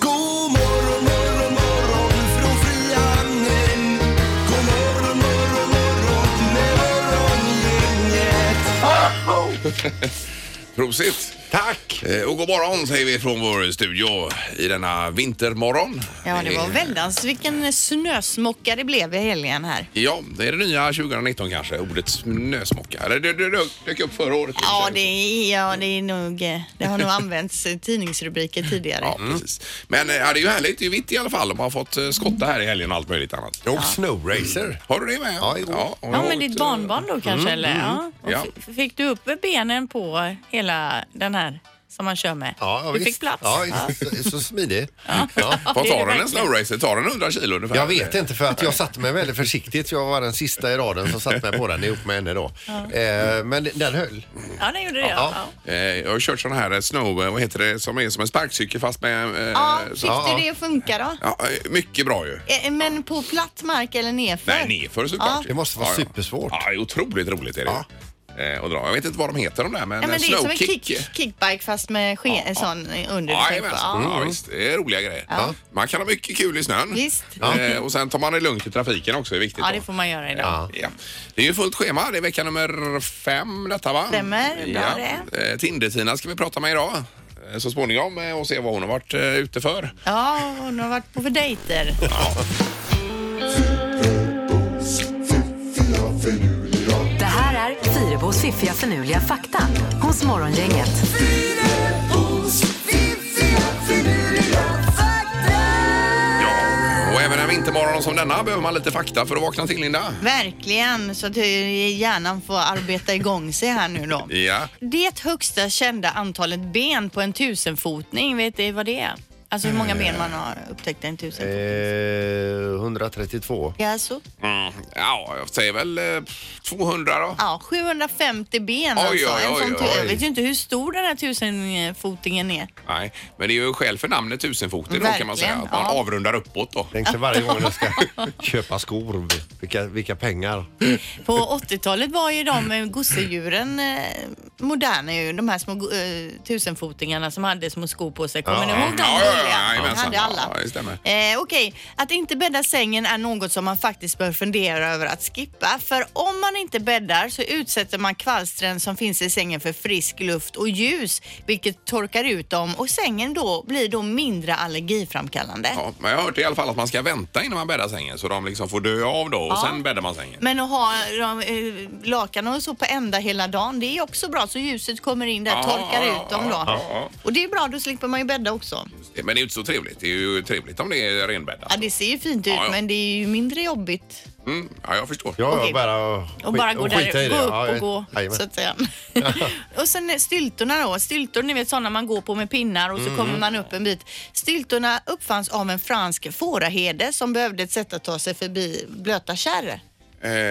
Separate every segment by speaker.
Speaker 1: God morgon, morgon, morgon från Frihamnen. God morgon, morgon, morgon med morgongänget.
Speaker 2: Prosit! Tack! Och god morgon säger vi från vår studio i denna vintermorgon.
Speaker 3: Ja, det var
Speaker 2: Eh,
Speaker 3: väldans vilken snösmocka det blev i helgen här.
Speaker 2: Ja, det är det nya 2019 kanske, ordet snösmocka. Eller det, det, det dök upp förra året.
Speaker 3: Ja, det, är, ja, det, är nog, eh, det har nog använts i tidningsrubriker tidigare.
Speaker 2: Ja, precis. Men eh, ja, det är ju härligt, det är ju vitt i alla fall. Man har fått eh, skotta här i helgen och allt möjligt annat.
Speaker 4: Och snowracer.
Speaker 2: Har du det med?
Speaker 4: Ja, jo.
Speaker 2: och jag
Speaker 5: Ja,
Speaker 2: har
Speaker 5: men
Speaker 2: ett,
Speaker 5: ditt
Speaker 2: eh,
Speaker 5: barnbarn då kanske? eller? Ja. Och
Speaker 2: Ja.
Speaker 5: f- Fick du upp benen på hela den här som man kör med?
Speaker 4: Ja,
Speaker 5: du
Speaker 4: visst.
Speaker 5: fick plats?
Speaker 4: Ja, så, så smidig. Ja.
Speaker 2: Vad
Speaker 5: Det är
Speaker 2: tar
Speaker 5: det
Speaker 2: den en
Speaker 5: verkligen.
Speaker 2: snowracer? Tar den 100 kilo ungefär?
Speaker 4: Jag vet inte för att jag satte mig väldigt försiktigt. Jag var den sista i raden som satte mig på den ihop med henne då. Eh, men den höll.
Speaker 5: ja den gjorde det. Ja.
Speaker 4: Ja.
Speaker 2: Eh, Jag har kört sån här eh, snow, eh, vad heter det, som är som en sparkcykel fast med... eh,
Speaker 3: Ja,
Speaker 2: så-
Speaker 3: tyckte det att funka då?
Speaker 2: ja, eh, mycket bra ju.
Speaker 3: Eh, Men på platt mark eller nerför?
Speaker 2: Nej, nerför såklart.
Speaker 3: Ja.
Speaker 4: Det måste vara supersvårt.
Speaker 2: Ja, det är otroligt roligt är det ju. eh, att dra. Jag vet inte vad de heter de där men,
Speaker 3: Ja, men det är som en
Speaker 2: snowkick.
Speaker 3: kick, kickbike fast med ske, en sån under.
Speaker 2: Ja,
Speaker 3: typ.
Speaker 2: jajamensan.
Speaker 3: ja.
Speaker 2: ja, visst. Det är roliga grejer. Man kan ha mycket kul i snön.
Speaker 3: Visst.
Speaker 2: Eh, och sen tar man det lugnt i trafiken också, det är viktigt.
Speaker 5: ja, det
Speaker 2: då.
Speaker 5: får man göra idag.
Speaker 4: Ja.
Speaker 2: Mm. Ja. Det är ju fullt schema. Det är vecka nummer fem detta va?
Speaker 3: Stämmer. Bra
Speaker 2: det. Eh, Tinder-Tina ska vi prata med idag eh, så småningom eh, och se vad hon har varit eh, ute för.
Speaker 3: ja, hon har varit på för dejter.
Speaker 6: Det här är Fyrabos fiffiga förnuliga fakta hos Morgongänget.
Speaker 1: Fyrabos fiffiga finurliga fakta.
Speaker 2: Ja. Och även en vintermorgon som denna behöver man lite fakta för att vakna till Linda.
Speaker 3: Verkligen, så att hjärnan får arbeta igång sig här nu då.
Speaker 2: Ja.
Speaker 3: Det högsta kända antalet ben på en tusenfotning, vet du vad det är? Alltså hur
Speaker 2: Eh.
Speaker 3: många ben man har upptäckt i en tusenfotning?
Speaker 4: Eh, 132.
Speaker 3: Ja, så.
Speaker 2: Mm. Ja, jag säger väl eh, 200 då.
Speaker 3: ja, 750 ben
Speaker 2: Oj,
Speaker 3: alltså.
Speaker 2: oj,
Speaker 3: en
Speaker 2: oj,
Speaker 3: sån tu-
Speaker 2: oj.
Speaker 3: Jag vet ju inte hur stor den här tusenfotingen är.
Speaker 2: Nej, men det är ju skäl för namnet tusenfoting då kan man
Speaker 3: Verkligen,
Speaker 2: säga. Att man
Speaker 3: ja.
Speaker 2: avrundar uppåt då.
Speaker 4: Tänk sig varje gång jag ska köpa skor. Vilka, vilka pengar.
Speaker 3: På 80-talet var ju de eh, gosedjuren eh, moderna ju. De här små go- eh, tusenfotingarna som hade små skor på sig. Kommer ni
Speaker 4: Ja.
Speaker 3: ihåg dem?
Speaker 2: Ja, ja, ja,
Speaker 3: roliga?
Speaker 2: jajamensan.
Speaker 3: hade alla.
Speaker 2: Ja, det stämmer.
Speaker 3: Eh, Okej, att inte bädda sängen är något som man faktiskt bör fundera över att skippa. För om man inte bäddar så utsätter man kvalstren som finns i sängen för frisk luft och ljus, vilket torkar ut dem och sängen då blir då mindre allergiframkallande.
Speaker 2: Ja, men jag har hört i alla fall att man ska vänta innan man bäddar sängen så de liksom får dö av då och sen bäddar man sängen.
Speaker 3: Men att ha de, eh, lakan och så på ända hela dagen, det är också bra. Så ljuset kommer in där,
Speaker 2: Ja,
Speaker 3: torkar
Speaker 4: Ah.
Speaker 2: ja,
Speaker 3: ut dem då.
Speaker 2: ja, ja.
Speaker 3: Och det är bra, då slipper man ju bädda också.
Speaker 2: Men det är ju inte så trevligt. Det är ju trevligt om det är renbäddat.
Speaker 3: Ja, det ser ju fint ut,
Speaker 4: Ah,
Speaker 2: Ja, ja.
Speaker 3: men det är ju mindre jobbigt
Speaker 2: Mm, ja, jag förstår.
Speaker 4: Ja,
Speaker 3: Okej.
Speaker 4: jag bara skit-
Speaker 5: Och bara gå, där,
Speaker 4: skita i det.
Speaker 5: gå upp
Speaker 4: Ja,
Speaker 5: och gå.
Speaker 4: jajamän.
Speaker 3: så att säga. och sen är styltorna då. Styltor, ni vet sådana man går på med pinnar och så
Speaker 4: Mm,
Speaker 3: kommer man upp en bit. Styltorna uppfanns av en fransk fåraherde som behövde ett sätt att ta sig förbi blöta kärr.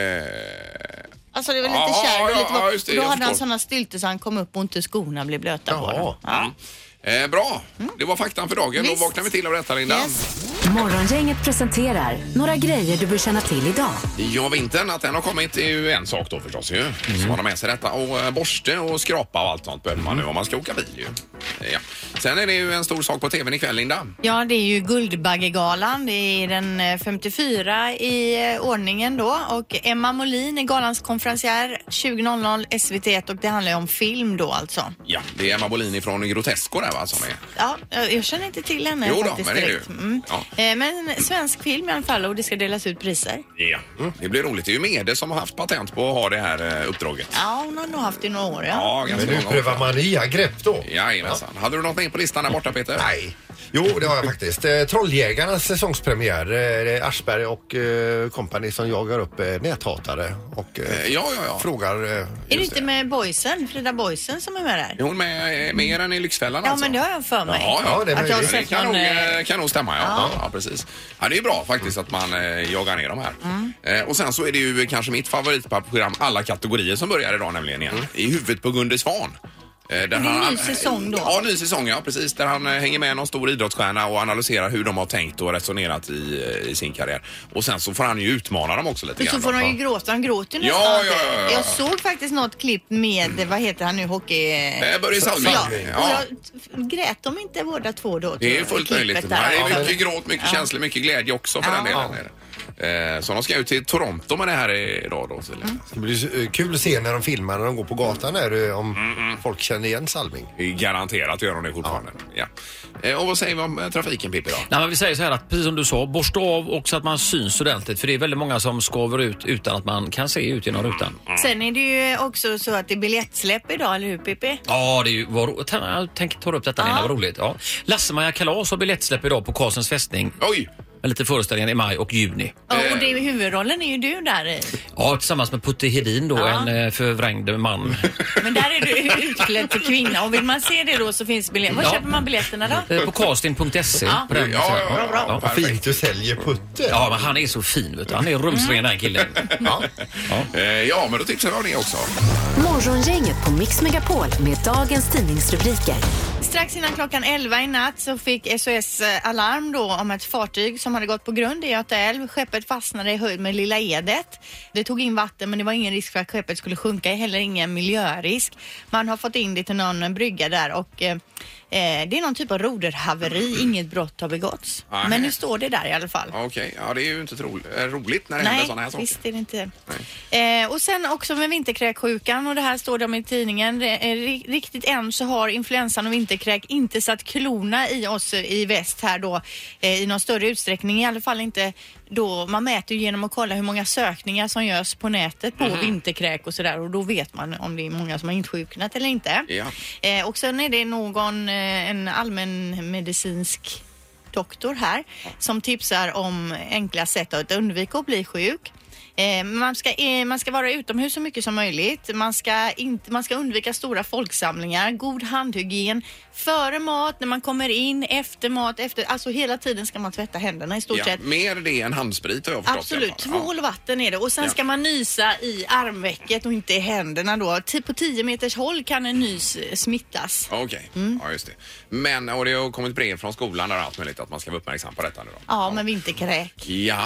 Speaker 2: Eh,
Speaker 3: Alltså det var
Speaker 2: Ja,
Speaker 3: lite kärr och
Speaker 2: ja,
Speaker 3: lite
Speaker 2: ja,
Speaker 3: vått.
Speaker 2: just det,
Speaker 3: Då
Speaker 2: jag
Speaker 3: hade han
Speaker 2: förstår.
Speaker 3: sådana styltor så han kom upp och inte skorna blev blöta på
Speaker 4: Jaha.
Speaker 3: dem. Ja. Mm.
Speaker 2: eh, bra, det var faktan för dagen. Då
Speaker 3: Visst.
Speaker 2: vaknar vi till av detta Linda.
Speaker 3: Yes.
Speaker 6: Morgongänget presenterar några grejer du bör känna till idag.
Speaker 2: Ja, vintern, att den har kommit är ju en sak då förstås ju. Så man har med sig detta och eh, borste och skrapa och allt sånt behöver man nu om man ska åka bil ju. Eh, Ja. Sen är det ju en stor sak på tvn ikväll Linda.
Speaker 3: Ja, det är ju Guldbaggegalan. Det är den eh, 54 i eh, ordningen då. Och Emma Molin är galans konferencier 20.00 SVT1 och det handlar ju om film då alltså.
Speaker 2: Ja, det är Emma Bolin från Grotesco där va som är.
Speaker 3: Ja, jag jag känner inte till henne
Speaker 2: Jo då,
Speaker 3: faktiskt
Speaker 2: men det är
Speaker 3: direkt.
Speaker 2: du.
Speaker 3: Mm.
Speaker 2: Ja.
Speaker 3: Eh, Men svensk film i alla fall och det ska delas ut priser.
Speaker 2: Ja. Mm. Det blir roligt. Det är ju Mede som har haft patent på att ha det här eh, uppdraget.
Speaker 3: Ja, hon har nog haft det i några år. Ja.
Speaker 2: Ja,
Speaker 4: Men
Speaker 2: ganska
Speaker 4: nu
Speaker 2: många år.
Speaker 4: prövar man nya grepp då.
Speaker 2: Jajamensan. Hade du något mer på listan där borta Peter? Nej.
Speaker 4: Jo, det har jag faktiskt. Eh, Trolljägarnas säsongspremiär. Eh, det är Aschberg och eh, kompani som jagar upp eh, näthatare och eh,
Speaker 2: Eh, Ja, ja, ja.
Speaker 4: frågar... Eh,
Speaker 3: Är det
Speaker 2: Just
Speaker 3: inte
Speaker 2: det.
Speaker 3: med boysen, Frida Boysen som är med där?
Speaker 2: Är hon med eh, mer än i Lyxfällan
Speaker 3: Ja,
Speaker 2: alltså?
Speaker 3: men det har jag för mig.
Speaker 2: Ja,
Speaker 4: Ja,
Speaker 2: ja.
Speaker 4: det är
Speaker 2: det,
Speaker 3: Att jag har
Speaker 4: möjligt.
Speaker 3: sett
Speaker 2: kan,
Speaker 3: någon,
Speaker 2: nog,
Speaker 3: eh,
Speaker 2: eh, kan nog stämma, ja. Ja. ja precis. Ja, det är ju bra faktiskt att man eh, jagar ner de här.
Speaker 3: Mm.
Speaker 2: Eh, och sen så är det ju kanske mitt favoritprogram, alla kategorier som börjar idag nämligen igen. I huvudet på Gunde Svan. Eh, Där det
Speaker 3: är en Mm. ny säsong då.
Speaker 2: Ja, ny säsong, ja precis. Där han eh, hänger med någon stor idrottsstjärna och analyserar hur de har tänkt och resonerat i, eh, i sin karriär. Och sen så får han ju utmana dem också lite
Speaker 3: Och så
Speaker 2: grann.
Speaker 3: får
Speaker 2: då.
Speaker 3: de ju gråta, de gråter ju
Speaker 2: Ja,
Speaker 3: nästan.
Speaker 2: ja, ja, ja.
Speaker 3: Jag såg faktiskt något klipp med, vad heter han nu, hockey...
Speaker 2: Eh, Börje Salming.
Speaker 3: Ja, och
Speaker 2: Ja.
Speaker 3: jag grät de inte båda två då? tror
Speaker 2: Det är
Speaker 3: jag, i
Speaker 2: fullt
Speaker 3: klippet
Speaker 2: möjligt. Det
Speaker 3: Där.
Speaker 2: är mycket gråt, mycket känslor, mycket glädje också för
Speaker 3: Ja.
Speaker 2: den delen. är det. Eh, Så de ska ut till Toronto med det här idag då. Silja.
Speaker 3: Mm.
Speaker 4: Det blir eh, kul att se när de filmar när de går på gatan här eh, om
Speaker 2: Mm,
Speaker 4: folk känner igen Salming.
Speaker 2: Det är Garanterat gör de det fortfarande. Ja. Eh, Och vad säger vi om eh, trafiken Pippi då?
Speaker 7: Nej, men vi säger så här att precis som du sa, borsta av och så att man syns ordentligt. För det är väldigt många som skaver ut utan att man kan se ut genom rutan.
Speaker 3: Sen är det ju också så att det är biljettsläpp idag, eller hur Pippi?
Speaker 7: Ja, det är ju vad ro- Tänk- Jag tänker ta upp detta Lena, vad roligt. Ja. Lasse-Maja Kalas har biljettsläpp idag på Karlsens fästning.
Speaker 2: Oj!
Speaker 7: Med lite föreställningar i maj och juni.
Speaker 3: Ja, och det, är- huvudrollen är ju du där i.
Speaker 7: Ja, tillsammans med Putte Hedin då, en eh, förvrängd man.
Speaker 5: Men där är du utklädd till kvinna och vill man se det då så finns biljetter. Var
Speaker 7: Ja.
Speaker 5: köper man biljetterna då?
Speaker 7: Eh, på casting.se.
Speaker 5: Ja.
Speaker 7: På den-
Speaker 2: Ja, ja, ja, bra.
Speaker 7: Ja.
Speaker 4: Vad fint du säljer Putte.
Speaker 7: Ja, men han är så fin. Vet du. Han är rumsren den här killen.
Speaker 4: Ja.
Speaker 2: Eh, Ja, men då tipsar vi om det också.
Speaker 6: Morgongänget på Mix Megapol med dagens tidningsrubriker.
Speaker 3: Strax innan klockan 11 i natt så fick SOS eh, alarm då om ett fartyg som hade gått på grund i Göta älv. Skeppet fastnade i höjd med Lilla Edet. Det tog in vatten men det var ingen risk för att skeppet skulle sjunka, heller ingen miljörisk. Man har fått in det till någon brygga där och eh, eh, det är någon typ av roderhaveri. Inget brott har begåtts.
Speaker 2: Nej.
Speaker 3: Men nu står det där i alla fall.
Speaker 2: Ja, Okej, ja, det är ju inte tro- eh, roligt när det händer
Speaker 3: Nej,
Speaker 2: sådana här saker.
Speaker 3: visst är det inte. Eh, och sen också med vinterkräksjukan och det här står det om i tidningen. Det är ri- Riktigt än så har influensan och vinterkräk inte satt klona i oss i väst här då eh, i någon större utsträckning. I alla fall inte då man mäter ju genom att kolla hur många sökningar som görs på nätet
Speaker 2: Mhm.
Speaker 3: på vinterkräk och sådär och då vet man om det är många som har insjuknat eller inte.
Speaker 2: Ja.
Speaker 3: Eh, och sen är det någon, eh, en allmänmedicinsk doktor här som tipsar om enkla sätt att undvika att bli sjuk. Eh, man, ska, eh, man ska vara utomhus så mycket som möjligt. Man ska, inte, man ska undvika stora folksamlingar, god handhygien. Före mat, när man kommer in, efter mat, efter, alltså hela tiden ska man tvätta händerna i stort
Speaker 2: Ja,
Speaker 3: sett.
Speaker 2: mer det än handsprit har jag förstått. i
Speaker 3: Absolut,
Speaker 2: alla fall. Ja.
Speaker 3: tvål och vatten är det. Och sen
Speaker 2: Ja.
Speaker 3: ska man nysa i armvecket och inte i händerna då. Ti- På 10 meters håll kan en nys eh, smittas.
Speaker 2: Okej,
Speaker 3: Mm.
Speaker 2: ja just det. Men, och det har kommit brev från skolan där och allt möjligt att man ska vara uppmärksam på detta nu då.
Speaker 3: Ja, men vinterkräk.
Speaker 2: Ja,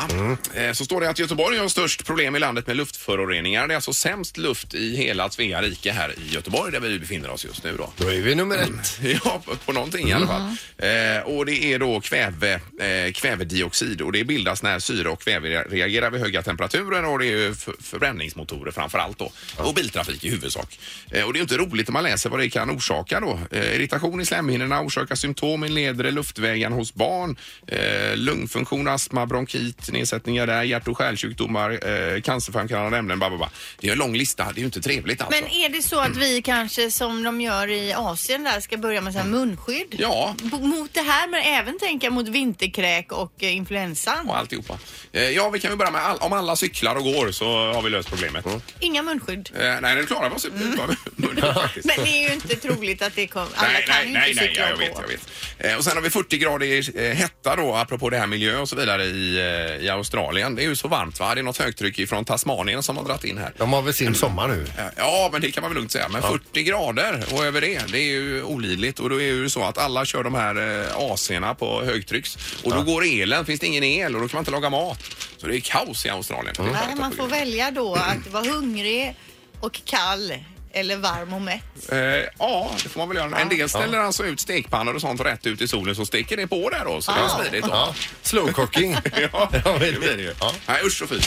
Speaker 2: Eh, så står det att Göteborg har störst problem i landet med luftföroreningar. Det är alltså sämst luft i hela Svea rike här i Göteborg där vi befinner oss just nu då.
Speaker 4: Då är vi nummer ett.
Speaker 2: Ja, på- på någonting i alla fall. Eh, och det är då kväve, eh, kvävedioxid och det bildas när syre och kväve reagerar vid höga temperaturer och det är ju f- förbränningsmotorer framför allt då. Och biltrafik i huvudsak. Eh, och det är ju inte roligt när man läser vad det kan orsaka då. Eh, irritation i slemhinnorna orsakar symptom i nedre luftvägen hos barn, eh, lungfunktion, astma, bronkit, nedsättningar där, hjärt och kärlsjukdomar, eh, cancerframkallande ämnen, bla, bla, bla. Det är en lång lista, det är ju inte trevligt alltså.
Speaker 3: Men är det så att vi kanske som de gör i Asien där ska börja med så här munskydd?
Speaker 2: Ja,
Speaker 3: B- Mot det här men även tänka mot vinterkräk och eh, influensan.
Speaker 2: och alltihopa. Eh, Ja, vi kan ju börja med all, om alla cyklar och går så har vi löst problemet.
Speaker 3: Inga munskydd.
Speaker 2: Eh, nej, det klarar vi oss utan munnen faktiskt.
Speaker 3: Men det är ju inte troligt att det kommer. Alla
Speaker 2: Nej,
Speaker 3: kan
Speaker 2: nej,
Speaker 3: ju
Speaker 2: nej,
Speaker 3: inte
Speaker 2: nej,
Speaker 3: cykla
Speaker 2: jag
Speaker 3: och
Speaker 2: vet,
Speaker 3: gå.
Speaker 2: jag vet. Eh, och sen har vi 40 grader eh, hetta då, apropå det här miljö och så vidare i, eh, i Australien. Det är ju så varmt va? Det är något högtryck från Tasmanien som har dragit in här.
Speaker 4: De har väl sin sommar nu.
Speaker 2: Eh, Ja, men det kan man väl lugnt säga. Men 40 grader och över det, det är ju olidligt. Och då är det ju så att alla kör de här eh, AC'na på högtrycks. Och då går elen, finns det ingen el och då kan man inte laga mat. Så det är kaos i Australien. Det är
Speaker 3: Nej,
Speaker 2: farligt
Speaker 3: man
Speaker 2: att
Speaker 3: får
Speaker 2: gå in.
Speaker 3: välja då att vara hungrig och kall eller varm och mätt.
Speaker 2: Eh, ja, det får man väl göra. En del ställer alltså ut stekpannor och sånt rätt ut i solen så steker det på där då. Så det är smidigt. Då.
Speaker 4: Ja. Slow cooking.
Speaker 2: Ja, Mm.
Speaker 4: Ja,
Speaker 2: det blir det ju.
Speaker 4: Ja.
Speaker 2: Nej, usch och fy.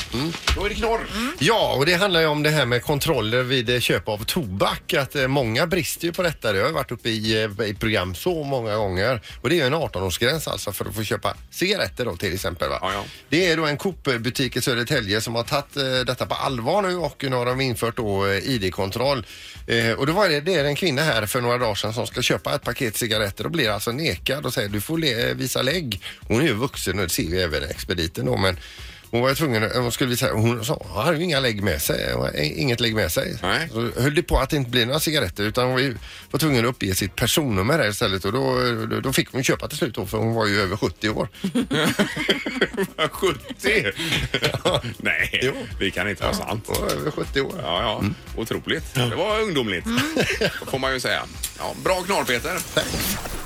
Speaker 2: Då är det knorr.
Speaker 4: Ja, och det handlar ju om det här med kontroller vid eh, köp av tobak. Att eh, många brister ju på detta. Det har ju varit uppe i, eh, i program så många gånger. Och det är ju en 18-årsgräns alltså för att få köpa cigaretter då till exempel. Va?
Speaker 2: Ja, ja.
Speaker 4: Det är då en Coop-butik i Södertälje som har tagit eh, detta på allvar nu och nu har de infört då eh, ID-kontroll Eh, och då var det, det är en kvinna här för några dagar sedan som ska köpa ett paket cigaretter och blir alltså nekad och säger du får le, eh, visa lägg. Hon är ju vuxen och det ser vi även i expediten då men hon var ju tvungen, hon skulle visa, hon sa, hon hade ju inga lägg med sig, Hon hade inget lägg med sig.
Speaker 2: Nej.
Speaker 4: Så höll det på att det inte blir några cigaretter utan hon var ju- var tvungen att uppge sitt personnummer här istället och då, då, då fick hon köpa till slut då för hon var ju över 70 år.
Speaker 2: 70? Nej,
Speaker 4: Jo.
Speaker 2: det kan inte vara sant.
Speaker 4: Hon var över 70 år.
Speaker 2: Ja, Mm. ja. Mm. Otroligt. Det var ungdomligt, får man ju säga. Ja, bra knorr, Peter.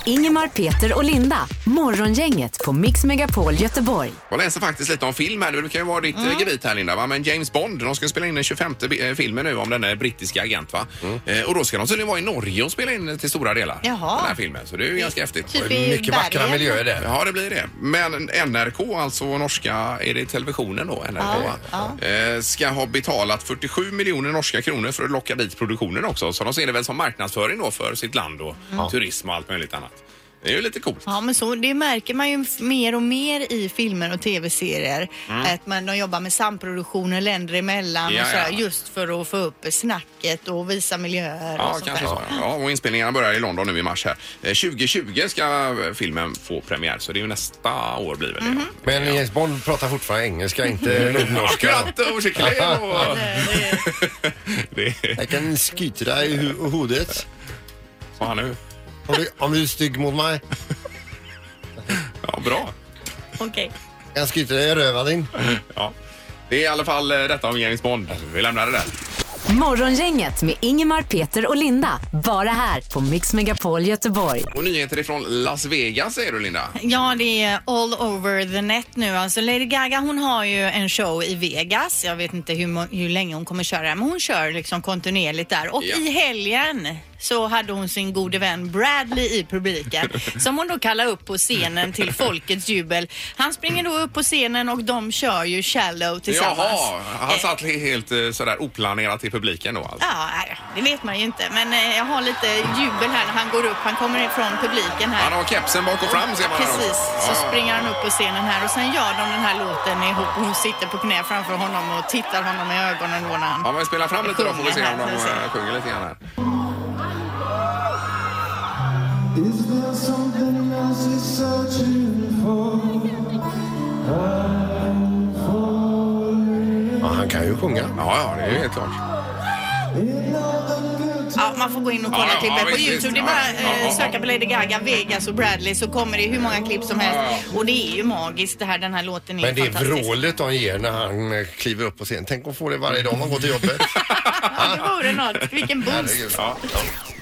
Speaker 6: Ingemar, Peter och Linda. Morgongänget på Mix Megapol Göteborg.
Speaker 2: Jag läser faktiskt lite om film här. Det brukar ju vara ditt mm. gebit här Linda. Va? Men James Bond, de ska spela in den 25 eh, filmen nu om den där brittiska agent va? Eh, och då ska de tydligen vara i Norge och spela in till stora delar.
Speaker 3: Jaha.
Speaker 2: Den här filmen. Så det är ju ganska häftigt.
Speaker 3: Typ i
Speaker 4: Mycket vackra
Speaker 3: bergen.
Speaker 4: miljöer där.
Speaker 2: Ja, det blir det. Men NRK, alltså norska, är det televisionen då? NRK,
Speaker 3: Ja,
Speaker 2: va? Eh, ska ha betalat 47 miljoner norska kronor för att locka dit produktionen också. Så de ser det väl som marknadsföring då för sitt land och turism och allt möjligt annat. Det är ju lite coolt.
Speaker 3: Mm. Ja, men så, det märker man ju f- mer och mer i filmer och tv-serier. Att man, de jobbar med samproduktioner länder emellan
Speaker 2: Mm. Ja,
Speaker 3: och sådär,
Speaker 2: ja.
Speaker 3: just för att få upp snacket och visa miljöer och
Speaker 2: Ja,
Speaker 3: sånt
Speaker 2: kanske
Speaker 3: där.
Speaker 2: så. Ja, och inspelningarna börjar i London nu i mars här. Eh, 2020 ska filmen få premiär, så det är ju nästa år blir väl det.
Speaker 3: Mhm.
Speaker 2: va?
Speaker 4: Men James Bond pratar fortfarande engelska, inte nordnorska.
Speaker 2: Akkurat, och kycklingar och- Det
Speaker 4: Jag kan skjuta dig i hu- huvudet
Speaker 2: sa han nu.
Speaker 4: om du, om du är stygg mot mig.
Speaker 2: Ja, bra.
Speaker 3: Okej.
Speaker 4: Jag kan skjuta dig i röva din.
Speaker 2: Ja. Det är i alla fall eh, detta om James Bond. Alltså, Vi lämnar det där.
Speaker 6: Morgongänget med Ingemar, Peter och Linda. Bara här på Mix Megapol Göteborg.
Speaker 2: Och nyheter ifrån Las Vegas säger du, Linda.
Speaker 3: Ja, det är all over the net nu. Alltså Lady Gaga hon har ju en show i Vegas. Jag vet inte hur, må- hur länge hon kommer köra, men hon kör liksom kontinuerligt där. Och
Speaker 2: Ja.
Speaker 3: i helgen så hade hon sin gode vän Bradley i publiken som hon då kallar upp på scenen till folkets jubel. Han springer då upp på scenen och de kör ju Shallow tillsammans.
Speaker 2: Jaha, han
Speaker 3: Eh, Ah.
Speaker 2: satt helt eh, sådär oplanerat i publiken då alltså.
Speaker 3: Ja, nej, det vet man ju inte. Men eh, jag har lite jubel här när han går upp. Han kommer ifrån publiken här.
Speaker 2: Han har kepsen bak och fram ser man här
Speaker 3: Precis,
Speaker 2: också.
Speaker 3: så
Speaker 2: Ja.
Speaker 3: springer han upp på scenen här och sen gör de den här låten ihop. Hon sitter på knä framför honom och tittar honom i ögonen då när han...
Speaker 2: Ja, men spela fram lite då får vi se om de
Speaker 3: Sjunger här,
Speaker 2: eh, sjunger lite grann här.
Speaker 4: Ja, han kan ju sjunga.
Speaker 2: Ja, ja, det är ju helt klart.
Speaker 3: Ja, man får gå in och kolla
Speaker 2: Ja, ja,
Speaker 3: klippen
Speaker 2: ja,
Speaker 3: på
Speaker 2: visst,
Speaker 3: Youtube.
Speaker 2: visst.
Speaker 3: Det är bara
Speaker 2: Ja, ja,
Speaker 3: eh,
Speaker 2: ja.
Speaker 3: söka på Lady Gaga, Vegas och Bradley så kommer det hur många klipp som helst.
Speaker 2: Ja,
Speaker 3: Och det är ju magiskt det här. Den här låten är
Speaker 4: Men det är
Speaker 3: fantastisk.
Speaker 4: vrålet de ger när han eh, kliver upp på scen. Tänk att få det varje dag man går till jobbet.
Speaker 3: Ja, det vore något. Vilken boost.
Speaker 4: Herregud.
Speaker 2: Ja.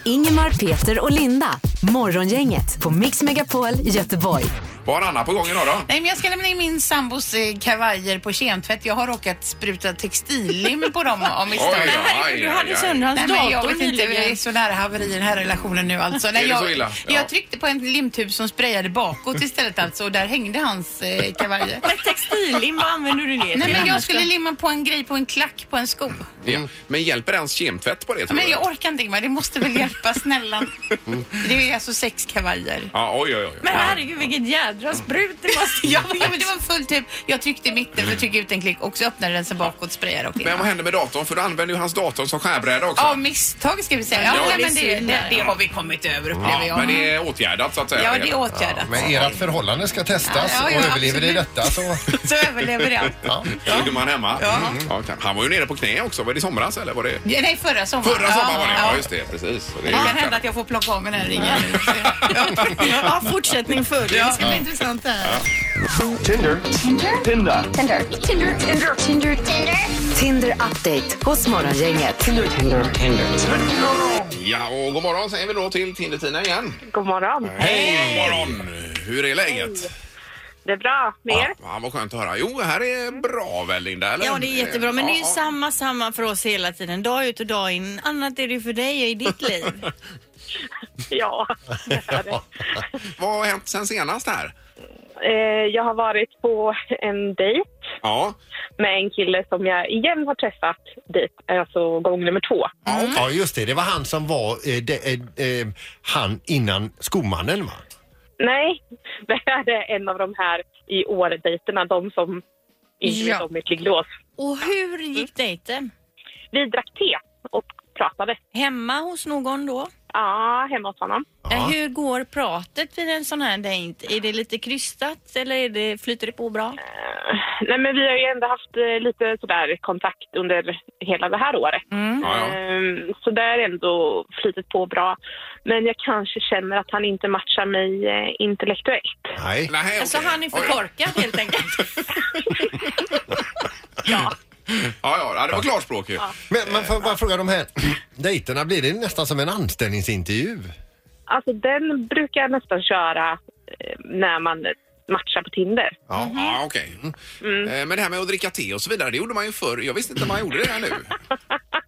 Speaker 6: Ingemar, Peter och Linda. Morgongänget på Mix Megapol Göteborg.
Speaker 2: Var Anna på gång idag då?
Speaker 5: Nej, men jag ska lämna in min sambos eh, kavajer på kemtvätt. Jag har råkat spruta textillim på dem av misstag.
Speaker 2: Oj,
Speaker 5: Nej,
Speaker 2: aj,
Speaker 3: Du
Speaker 2: aj,
Speaker 3: hade
Speaker 2: aj.
Speaker 3: sönder hans
Speaker 5: Nej, men jag
Speaker 3: dator
Speaker 5: vet inte, det är
Speaker 3: nyligen.
Speaker 5: så nära haveri i den här relationen nu alltså. Nej,
Speaker 2: det
Speaker 5: jag,
Speaker 2: så illa? Ja.
Speaker 5: jag tryckte på en limtub som sprayade bakåt istället alltså och där hängde hans eh, kavajer.
Speaker 3: Men textillim, vad använder du det till
Speaker 5: Nej men jag
Speaker 3: annars
Speaker 5: skulle
Speaker 3: då?
Speaker 5: limma på en grej på en klack på en sko.
Speaker 2: Ja. Mm. Men hjälper ens kemtvätt på det? tror
Speaker 5: Men
Speaker 2: du?
Speaker 5: jag orkar inte Ingmar, det måste väl hjälpa snälla. Det är alltså sex kavajer.
Speaker 2: Ja, oj, oj, oj.
Speaker 3: Men herregud vilket jädra sprut det måste
Speaker 5: Ja, men- ja, men det var en full typ. Jag tryckte i mitten för att trycka ut en klick och så öppnade den sig bakåt, sprayade och
Speaker 2: Men vad hände med datorn? För du använder ju hans dator som skärbräda också.
Speaker 5: Ja, misstag ska vi säga. Ja,
Speaker 2: Ja,
Speaker 5: nej,
Speaker 2: det
Speaker 5: men det,
Speaker 3: ser
Speaker 5: det, det har vi kommit över upplever
Speaker 2: Ja,
Speaker 5: jag.
Speaker 2: men det är åtgärdat så att säga.
Speaker 5: Ja, det är åtgärdat.
Speaker 4: Men ert förhållande ska testas
Speaker 5: Ja, ja,
Speaker 4: och överlever det
Speaker 5: absolut.
Speaker 4: detta så...
Speaker 5: Så överlever jag.
Speaker 4: Ja.
Speaker 2: Då ligger man hemma. Mm. Ja, kan- han var ju nere på knä också. Var det i somras eller? Var det...
Speaker 5: Ja, Nej, förra sommaren.
Speaker 2: Förra sommaren
Speaker 5: Ja,
Speaker 2: var det.
Speaker 5: ja.
Speaker 2: Ja, just det. Precis. Så Det
Speaker 5: Det
Speaker 2: är ju-
Speaker 8: Ah.
Speaker 5: kan hända att jag får plocka av mig den här ringen.
Speaker 3: Ja, fortsättning följer.
Speaker 5: Ja, det ska bli intressant det här.
Speaker 6: Tinder update hos Morgongänget.
Speaker 2: Ja, och god morgon säger vi då till Tinder-Tina igen.
Speaker 8: God morgon.
Speaker 2: Hej! God morgon! Hur är läget?
Speaker 8: Det är bra. Med er?
Speaker 2: Ja, vad skönt att höra. Jo, här är bra väl Linda? Eller?
Speaker 3: Ja, det är jättebra. Men det är ju
Speaker 2: Ja,
Speaker 3: samma, samma för oss hela tiden. Dag ut och dag in. Annat är det ju för dig i ditt liv.
Speaker 8: Ja. det är det.
Speaker 2: Vad har hänt sen senast här?
Speaker 8: Eh, Jag har varit på en dejt
Speaker 2: Ja,
Speaker 8: med en kille som jag igen har träffat dit, alltså gång nummer två.
Speaker 5: Mm.
Speaker 4: ja, just det. Det var han som var eh, det, eh, eh, han innan skomannen va?
Speaker 8: Nej, det här är en av de här i år-dejterna, de som inte
Speaker 3: Ja.
Speaker 8: vet om mitt ligglås.
Speaker 3: Och hur gick dejten?
Speaker 8: Vi drack te och pratade.
Speaker 3: Hemma hos någon då?
Speaker 8: Ja, hemma hos honom.
Speaker 3: Eh, Hur går pratet vid en sån här dejt? Är det lite krystat eller är det, flyter det på bra?
Speaker 8: Nej, men vi har ju ändå haft eh, lite sådär kontakt under hela det här året.
Speaker 5: Mm.
Speaker 3: Mm.
Speaker 2: Ja, ja.
Speaker 8: Ehm, Så det har ändå flytit på bra. Men jag kanske känner att han inte matchar mig eh, intellektuellt.
Speaker 4: Nej.
Speaker 2: Nej,
Speaker 3: Alltså
Speaker 2: okej.
Speaker 3: han är för
Speaker 2: Oj då.
Speaker 3: korkad helt enkelt.
Speaker 2: Ja, ja, ja, det var klarspråk ju.
Speaker 4: Men man får bara fråga de här dejterna, blir det nästan som en anställningsintervju?
Speaker 8: Alltså den brukar jag nästan köra eh, när man matchar på Tinder.
Speaker 2: Ja, ja okej. Eh, Men det här med att dricka te och så vidare, det gjorde man ju förr. Jag visste inte man gjorde det här nu.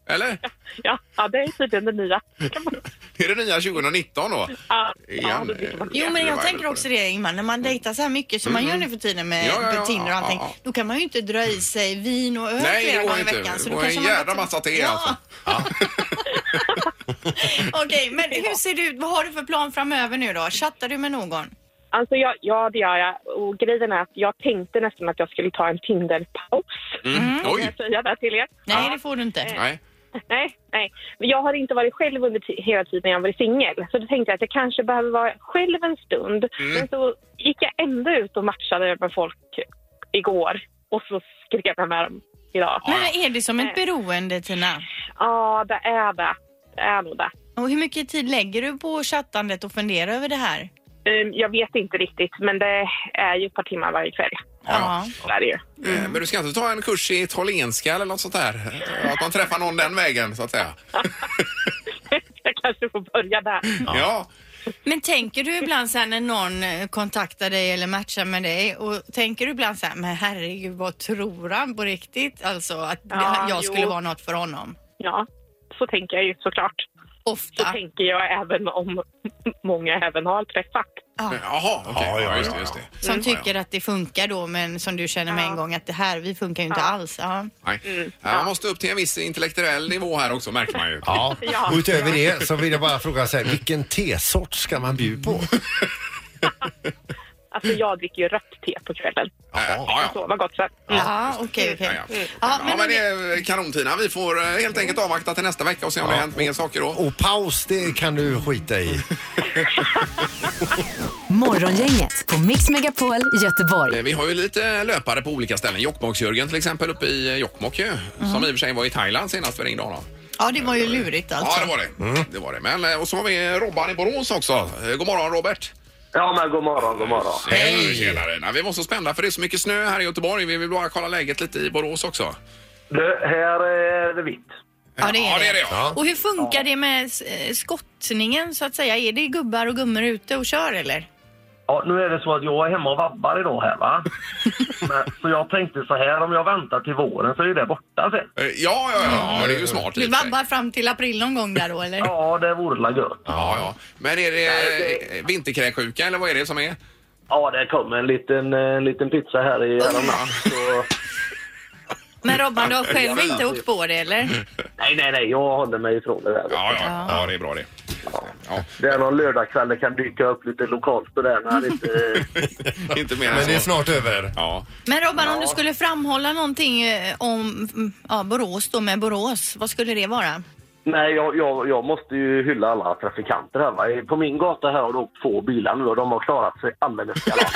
Speaker 2: Eller?
Speaker 8: Ja, ja det är tydligen det nya.
Speaker 2: Det är det nya 2019 då.
Speaker 8: Ja, ja,
Speaker 2: Igen.
Speaker 8: då dricker man.
Speaker 3: Jo men
Speaker 2: Jävlar,
Speaker 3: jag
Speaker 2: vad
Speaker 3: tänker
Speaker 2: jag
Speaker 3: också det Ingmar, när man dejtar så här mycket som man gör nu för tiden med
Speaker 2: Mm. Ja, ja, ja,
Speaker 3: med Tinder och
Speaker 2: ja,
Speaker 3: allting.
Speaker 2: ja.
Speaker 3: Då kan man ju inte dra i sig vin och öl
Speaker 2: Nej,
Speaker 3: flera
Speaker 2: det går
Speaker 3: gånger i
Speaker 2: inte.
Speaker 3: veckan.
Speaker 2: Det
Speaker 3: då
Speaker 2: går en
Speaker 3: man
Speaker 2: jävla
Speaker 3: bara-
Speaker 2: massa te
Speaker 3: ja.
Speaker 2: alltså.
Speaker 3: Okej, men hur ser det ut? Vad har du för plan framöver nu då? Chattar du med någon?
Speaker 8: Alltså jag, ja, det gör jag. Och grejen är att jag tänkte nästan att jag skulle ta en Tinder-paus.
Speaker 2: Mm.
Speaker 8: Kan jag
Speaker 2: Oj!
Speaker 8: säga det till er?
Speaker 3: Nej, det får du inte.
Speaker 2: Nej.
Speaker 8: Nej, nej. Men jag har inte varit själv under ti- hela tiden jag har varit singel. Så då tänkte jag att jag kanske behöver vara själv en stund. Men så gick jag ändå ut och matchade med folk igår. Och så skrev jag med dem idag. Ja,
Speaker 3: Men är det som ett beroende Tina?
Speaker 8: det är det. Det är nog det.
Speaker 3: Och hur mycket tid lägger du på chattandet och funderar över det här?
Speaker 8: Ehm, Jag vet inte riktigt, men det är ju ett par timmar varje kväll.
Speaker 3: Ja.
Speaker 8: Det är det ju.
Speaker 2: Eh,
Speaker 3: Mm.
Speaker 2: Men du ska inte ta en kurs i italienska eller något sånt där? Eh, Att man träffar någon den vägen så att säga?
Speaker 8: Jag kanske får börja där.
Speaker 2: Ja.
Speaker 3: Men tänker du ibland så här när någon eh, kontaktar dig eller matchar med dig och tänker du ibland så här, men herregud vad tror han på riktigt? Alltså att
Speaker 8: Ja,
Speaker 3: jag skulle
Speaker 8: jo.
Speaker 3: vara något för honom.
Speaker 8: Ja, så tänker jag ju såklart. Så
Speaker 3: Ofta.
Speaker 8: tänker jag även om många även har träffat.
Speaker 3: Ja.
Speaker 2: Jaha, okej.
Speaker 4: Ja, ja,
Speaker 2: Ja, just
Speaker 4: ja.
Speaker 2: det, just det.
Speaker 3: Som
Speaker 2: Ja, ja.
Speaker 3: tycker att det funkar då men som du känner med en gång att det här, vi funkar ju inte alls. Ja.
Speaker 2: Nej. Ja, Man måste upp till en viss intellektuell nivå här också märker man ju.
Speaker 4: Ja.
Speaker 8: Ja.
Speaker 4: Och utöver det så vill jag bara fråga så här, vilken tesort ska man bjuda på?
Speaker 8: Alltså jag dricker ju rött te på kvällen.
Speaker 2: Eh, ja, ja.
Speaker 8: Så, vad gott så. Mm.
Speaker 3: Ja, okej,
Speaker 2: Ja,
Speaker 3: okej.
Speaker 2: ja.
Speaker 3: Ja,
Speaker 2: ja,
Speaker 3: men Mm.
Speaker 2: men
Speaker 3: om
Speaker 2: det är kanon Tina. Vi får eh, helt enkelt avvakta till nästa vecka och se om det har hänt mer saker då.
Speaker 4: Och paus, det kan du skita i.
Speaker 6: Morgongänget på Mix Megapol i Göteborg.
Speaker 2: Eh, Vi har ju lite löpare på olika ställen. Jokkmokks-Jörgen till exempel uppe i eh, Jokkmokk
Speaker 3: Mm.
Speaker 2: ju. Som i och för sig var i Thailand senast vi ringde honom.
Speaker 3: Ja, det var ju lurigt alltså.
Speaker 2: Ja, det var det. det, var det. Men, eh, och så har vi Robban i Borås också. Eh, God morgon Robert!
Speaker 1: Ja, men god morgon, god morgon.
Speaker 2: Hej! Tjenare! Nej, Vi var så spända för det är så mycket snö här i Göteborg. Vi vill bara kolla läget lite i Borås också.
Speaker 1: Du, här är det vitt.
Speaker 3: Ja, det är
Speaker 2: ja, det. Är det
Speaker 3: det.
Speaker 2: ja.
Speaker 3: Och hur funkar det med eh, skottningen så att säga? Är det gubbar och gummor ute och kör eller?
Speaker 1: Ja, nu är det så att jag är hemma och vabbar idag här va. Men, så jag tänkte så här, om jag väntar till våren så är ju det borta sen.
Speaker 2: Eh, Ja, ja, ja, ja, det är ju smart. i
Speaker 3: Du
Speaker 2: och för sig.
Speaker 3: vabbar fram till april någon gång där då eller?
Speaker 1: Ja, det vore la gött.
Speaker 2: Ja, ja. Men är det eh, vinterkräksjuka eller vad är det som är?
Speaker 1: Ja, det kom en liten, en liten pizza här i häromnatt. Så...
Speaker 3: Men Robban, du har själv inte åkt på det eller?
Speaker 1: Nej, nej, nej, jag håller mig ifrån det där.
Speaker 2: Ja, ja, ja, det är bra det. Ja.
Speaker 1: Det är någon lördagkväll det kan dyka upp lite lokalt sådär när han inte...
Speaker 2: Inte mer
Speaker 4: Men det är
Speaker 2: än så.
Speaker 4: snart över.
Speaker 2: Ja.
Speaker 3: Men Robban, om du skulle framhålla någonting eh, om mm, ja, Borås då med Borås, vad skulle det vara?
Speaker 1: Nej, jag, jag, jag måste ju hylla alla trafikanter här va. På min gata här har det åkt två bilar nu och de har klarat sig alldeles galant.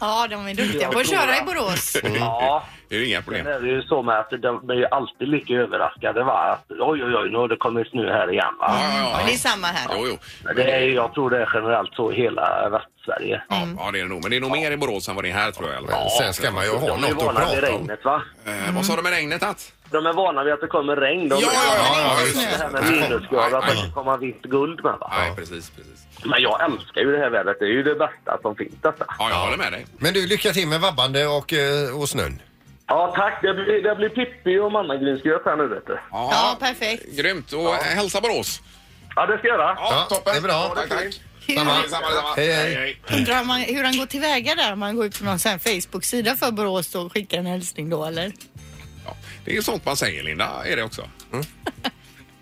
Speaker 3: Ja, de är duktiga
Speaker 1: Jag
Speaker 3: på att
Speaker 1: tror
Speaker 3: köra
Speaker 1: det.
Speaker 3: i Borås.
Speaker 4: Mm.
Speaker 1: Ja,
Speaker 2: Det är ju inga problem.
Speaker 1: sen är det ju så med att de är ju alltid lika överraskade va. Att, oj, oj, oj, nu har det kommit snö här igen va.
Speaker 2: Ja, ja,
Speaker 3: Ja,
Speaker 2: ja.
Speaker 3: det är samma här.
Speaker 2: Jo, jo.
Speaker 1: Men Det är, ju- jag tror det är generellt så i hela Västsverige.
Speaker 2: Ja,
Speaker 3: Mm.
Speaker 2: ja, det är det nog. Men det är nog mer i Borås än vad det är här tror jag. Eller?
Speaker 4: Men sen ska man ju ha
Speaker 1: De är
Speaker 4: något att
Speaker 1: vana vid
Speaker 4: prata om.
Speaker 1: regnet va?
Speaker 2: Eh, vad sa du med regnet att?
Speaker 1: De är vana vid att det kommer regn. De
Speaker 2: Ja, ja, ja, ja,
Speaker 1: Det
Speaker 2: just det.
Speaker 1: här med
Speaker 2: Nej,
Speaker 1: minusgrader, att
Speaker 2: nej,
Speaker 1: det kan komma vitt guld med va.
Speaker 2: Nej, precis, precis.
Speaker 1: Men jag älskar ju det här vädret. Det är ju det bästa som finns detta.
Speaker 2: Ja, jag håller med dig.
Speaker 4: Men du, lycka till med vabbande och, eh, och snön.
Speaker 1: Ja, tack. Det blir, det blir Pippi och mannagrynsgröt här nu, vet du.
Speaker 3: Ja, perfekt.
Speaker 2: Grymt. Och eh, hälsa Borås.
Speaker 1: Ja, det ska jag göra.
Speaker 2: Ja,
Speaker 4: Ja,
Speaker 2: toppen.
Speaker 4: det är bra.
Speaker 2: Tack, tack.
Speaker 4: Samma.
Speaker 2: Detsamma, detsamma.
Speaker 4: Hej, hej.
Speaker 3: Undrar om man, hur han går tillväga där, om man går ut på någon sån här Facebook-sida för Borås då och skickar en hälsning då eller?
Speaker 2: Ja, det är ju sånt man säger, Linda. Är det också.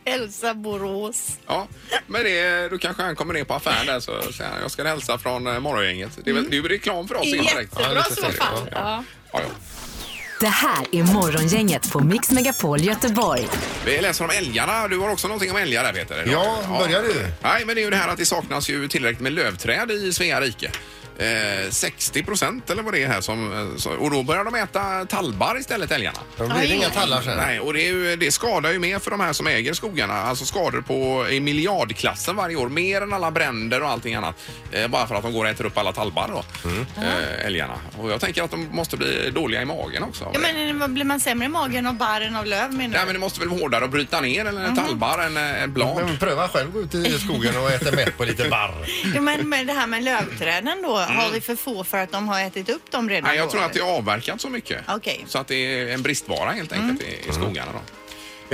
Speaker 3: Hälsa Borås.
Speaker 2: Ja, men det, då kanske han kommer ner på affären där så säger han jag ska hälsa från eh, morgongänget. Det är väl det är ju reklam för oss indirekt.
Speaker 3: Jättebra så
Speaker 4: lite trevligt,
Speaker 3: fall. Ja.
Speaker 2: Ja, ja.
Speaker 6: Det här är Morgongänget på Mix Megapol Göteborg.
Speaker 2: Vi läser om älgarna. Du har också någonting om älgar där Peter. idag.
Speaker 4: Ja, börjar du?
Speaker 2: Nej, men det är ju det här att det saknas ju tillräckligt med lövträd i Svea rike. Eh, 60 procent eller vad det är här som, eh, så- och då börjar de äta tallbar istället älgarna.
Speaker 4: Då blir det Aj. inga tallar sen.
Speaker 2: Nej, och det, är ju, det skadar ju mer för de här som äger skogarna. Alltså skador på, i miljardklassen varje år. Mer än alla bränder och allting annat. Eh, bara för att de går och äter upp alla tallbar då.
Speaker 3: Mm.
Speaker 2: Eh, älgarna. Och jag tänker att de måste bli dåliga i magen också.
Speaker 3: Ja, men eh, vad blir man sämre i magen av barren av löv menar
Speaker 2: Nej, men det måste väl vara hårdare att bryta ner än
Speaker 3: Mhm.
Speaker 2: en tallbar än eh, en blad.
Speaker 3: Mm.
Speaker 4: Men pröva själv gå ut i skogen och äta mätt på lite barr.
Speaker 3: Jo, men med det här med lövträden då, har vi för få för att de har ätit upp dem redan?
Speaker 2: Nej, jag
Speaker 3: då,
Speaker 2: tror att
Speaker 3: eller?
Speaker 2: det är avverkat så mycket.
Speaker 3: Okej. Mm.
Speaker 2: Så att det är en bristvara helt enkelt i, i skogarna då.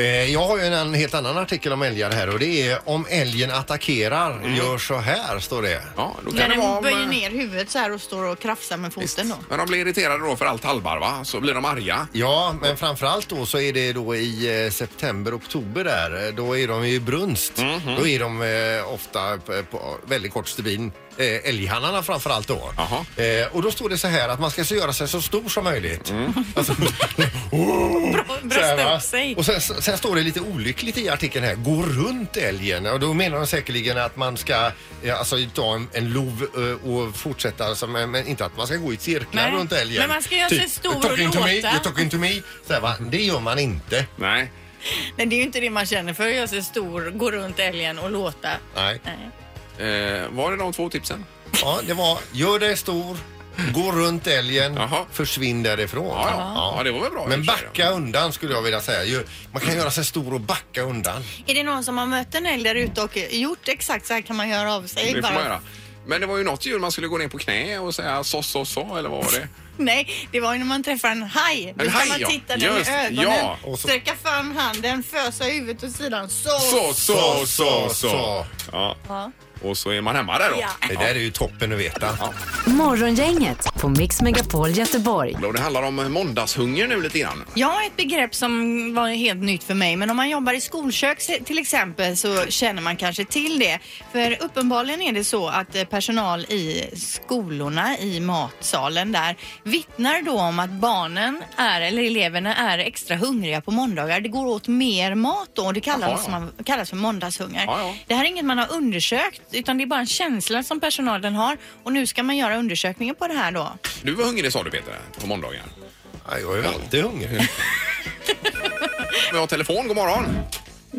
Speaker 4: Eh, Jag har ju en annan- helt annan artikel om älgar här och det är om älgen attackerar,
Speaker 2: Mm.
Speaker 4: gör så här, står det.
Speaker 2: Ja, då kan
Speaker 3: När
Speaker 2: det
Speaker 3: den
Speaker 2: vara om,
Speaker 3: böjer
Speaker 2: eh,
Speaker 3: ner huvudet så här och står och krafsar med foten då.
Speaker 2: Men de blir irriterade då för all tallbar va? Så blir de arga.
Speaker 4: Ja, men framförallt då så är det då i eh, september, oktober där. eh, Då är de i brunst. Då är de eh, ofta på, på väldigt kort stubin. Eh, älghannarna framförallt då.
Speaker 2: Jaha.
Speaker 4: Eh, och då står det så här att man ska så göra sig så stor som möjligt. Alltså, så här,
Speaker 5: Brösta
Speaker 4: va?
Speaker 5: upp sig.
Speaker 4: Och sen, sen står det lite olyckligt i artikeln här. Gå runt älgen. Och då menar de säkerligen att man ska eh, alltså, ta en, en lov eh, och fortsätta. Alltså, men, men inte att man ska gå i cirklar
Speaker 5: Nej.
Speaker 4: runt älgen.
Speaker 5: Men man ska göra sig stor och
Speaker 4: "You're talking to me,
Speaker 5: låta."
Speaker 4: you're talking to me. Så här, va? Det gör man inte.
Speaker 2: Nej.
Speaker 3: Nej, det är ju inte det man känner för. Jag ser stor, gå runt älgen och låta.
Speaker 4: Nej.
Speaker 3: Nej.
Speaker 2: Eh, var det de två tipsen?
Speaker 4: Ja, det var gör dig stor, gå runt älgen,
Speaker 2: Jaha.
Speaker 4: försvinn därifrån.
Speaker 2: Ja, ja. Ja, det var väl bra i
Speaker 4: Men
Speaker 2: och för sig,
Speaker 4: backa undan skulle jag vilja säga. Gör- Man kan göra sig stor och backa undan.
Speaker 3: Är det någon som har mött en älg där ute och gjort exakt så här kan man göra av sig?
Speaker 2: Det får
Speaker 3: bara?
Speaker 2: man göra. Men det var ju något djur man skulle gå ner på knä och säga så, så, så eller vad var det?
Speaker 3: Nej, det var ju när man träffar en haj. Då
Speaker 2: En
Speaker 3: ska
Speaker 2: haj,
Speaker 3: man
Speaker 2: ja.
Speaker 3: titta den
Speaker 2: Just,
Speaker 3: i ögonen,
Speaker 2: ja. Och så-
Speaker 3: sträcka fram handen, fösa huvudet åt sidan. Så!
Speaker 2: Så, så, så, så.
Speaker 4: så.
Speaker 2: Ja.
Speaker 3: Ja.
Speaker 2: Och så är man hemma där då.
Speaker 3: Ja.
Speaker 4: Det där är ju toppen att veta.
Speaker 6: Morgongänget på Mix Megapol Göteborg.
Speaker 2: Och det handlar om måndagshunger nu lite grann.
Speaker 3: Jag har ett begrepp som var helt nytt för mig, men om man jobbar i skolkök se- till exempel så känner man kanske till det. För uppenbarligen är det så att eh, personal i skolorna, i matsalen där, vittnar då om att barnen är, eller eleverna är extra hungriga på måndagar. Det går åt mer mat då och det kallas,
Speaker 2: Jaha, ja.
Speaker 3: man, kallas för måndagshunger.
Speaker 2: Ja, ja.
Speaker 3: Det här är inget man har undersökt, utan det är bara en känsla som personalen har. Och nu ska man göra undersökningen på det här då.
Speaker 2: Du var hungrig sa du Peter, på måndagar.
Speaker 4: Ja, jag är ju alltid hungrig.
Speaker 2: Vi har telefon, god morgon.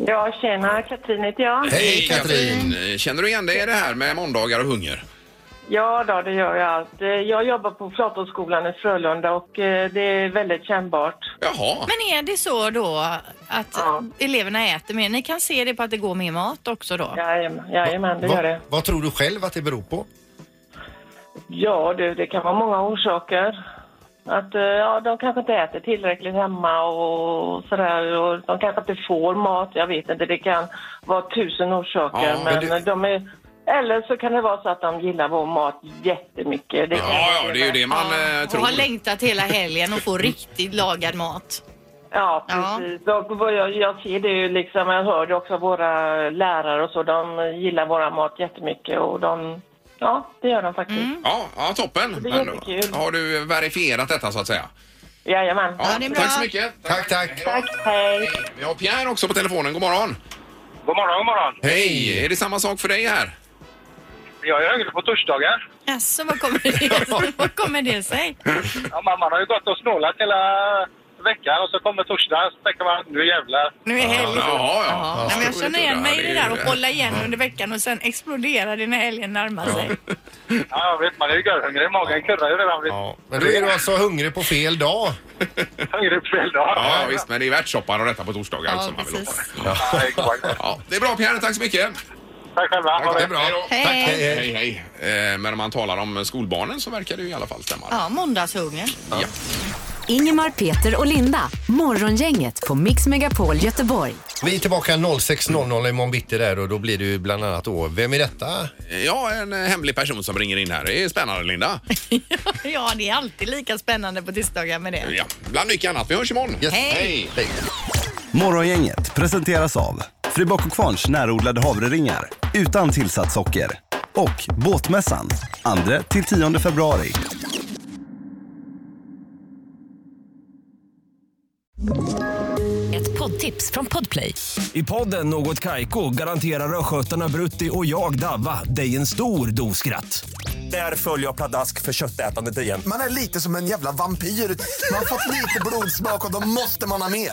Speaker 8: Ja, tjena. Katrin heter jag.
Speaker 4: Hej Katrin!
Speaker 2: Eh, Känner du igen dig i det här med måndagar och hunger?
Speaker 8: Ja, då, det gör jag allt. Eh, Jag jobbar på Flatåsskolan i Frölunda och eh, det är väldigt kännbart.
Speaker 2: Jaha.
Speaker 3: Men är det så då att
Speaker 8: Ja.
Speaker 3: eleverna äter mer? Ni kan se det på att det går mer mat också då?
Speaker 8: Jajamän, jajamän det gör
Speaker 4: Vad,
Speaker 8: det.
Speaker 4: vad tror du själv att det beror på?
Speaker 8: Ja, du, det kan vara många orsaker. Att eh, ja, de kanske inte äter tillräckligt hemma och sådär. Och de kanske inte får mat, jag vet inte. Det kan vara tusen orsaker.
Speaker 2: Ja, men
Speaker 8: men de är, eller så kan det vara så att de gillar vår mat jättemycket. Det kan
Speaker 2: Ja, ja, det är ju det man eh,
Speaker 3: och
Speaker 2: tror.
Speaker 3: har längtat hela helgen och får riktigt lagad mat.
Speaker 8: Ja,
Speaker 3: Ja.
Speaker 8: precis. Och vad jag, jag ser det ju liksom, jag hör det också av våra lärare och så, de gillar våra mat jättemycket och de, ja, det gör de faktiskt.
Speaker 2: Ja, ja, toppen.
Speaker 8: Det är
Speaker 2: Men då
Speaker 8: jättekul.
Speaker 2: Har du verifierat detta så att säga?
Speaker 8: Jajamän.
Speaker 2: Ja,
Speaker 3: det är bra.
Speaker 2: Tack så mycket.
Speaker 4: Tack, tack!
Speaker 8: Tack, hej.
Speaker 2: Vi har Pierre också på telefonen. God morgon.
Speaker 1: God morgon, god morgon.
Speaker 2: Hej! Är det samma sak för dig här?
Speaker 1: Jag är hungrig på torsdagar.
Speaker 3: Jaså, vad kommer det, vad kommer det sig?
Speaker 1: Ja, mamman har ju gått och snålat hela veckan och så kommer torsdag så tänker man nu jävlar.
Speaker 3: Nu är helg.
Speaker 2: Ja, ja.
Speaker 3: Ja, nej, men jag känner igen mig i det där och
Speaker 2: hålla.
Speaker 3: hålla igen under veckan och sen explodera det när helgen närmar sig.
Speaker 1: Ja, vet man är ju görhungrig. Magen kurrar ju redan vid
Speaker 4: Ja, men då är du alltså hungrig på fel dag.
Speaker 1: hungrig på fel dag.
Speaker 2: Ja, visst, men det är värtsshoppar och detta på torsdagar
Speaker 3: Ja,
Speaker 2: som man vill åt.
Speaker 3: precis.
Speaker 1: Ja, exakt.
Speaker 2: Ja, det är bra Pierre, tack så mycket.
Speaker 1: Tack själva. Ha
Speaker 2: det
Speaker 1: det.
Speaker 2: är bra.
Speaker 3: Hej.
Speaker 4: Tack, hej, hej.
Speaker 2: Hej, hej. Eh, Men om man talar om skolbarnen så verkar det ju i alla fall stämma.
Speaker 3: Ja, måndagshunger.
Speaker 2: Ja.
Speaker 6: Ingemar, Peter och Linda. Morgongänget på Mix Megapol Göteborg.
Speaker 4: Vi är tillbaka 06.00 imorgon bitti där och då blir det ju bland annat då, vem är detta?
Speaker 2: Ja, en eh, hemlig person som ringer in här. Det är spännande, Linda.
Speaker 3: Ja, det är alltid lika spännande på tisdagar med det.
Speaker 2: Ja, bland mycket annat. Vi hörs imorgon.
Speaker 4: Yes.
Speaker 3: Hej.
Speaker 4: Hej.
Speaker 9: Morgongänget presenteras av Fribock och Kvarns närodlade havreringar utan tillsatt socker och Båtmässan 2-10 februari.
Speaker 10: Ett poddtips från Podplay.
Speaker 11: I podden Något Kaiko garanterar östgötarna Brutti och jag, Davva, dig en stor dos skratt. Där följer jag pladask för köttätandet igen.
Speaker 12: Man är lite som en jävla vampyr. Man har fått lite blodsmak och då måste man ha mer.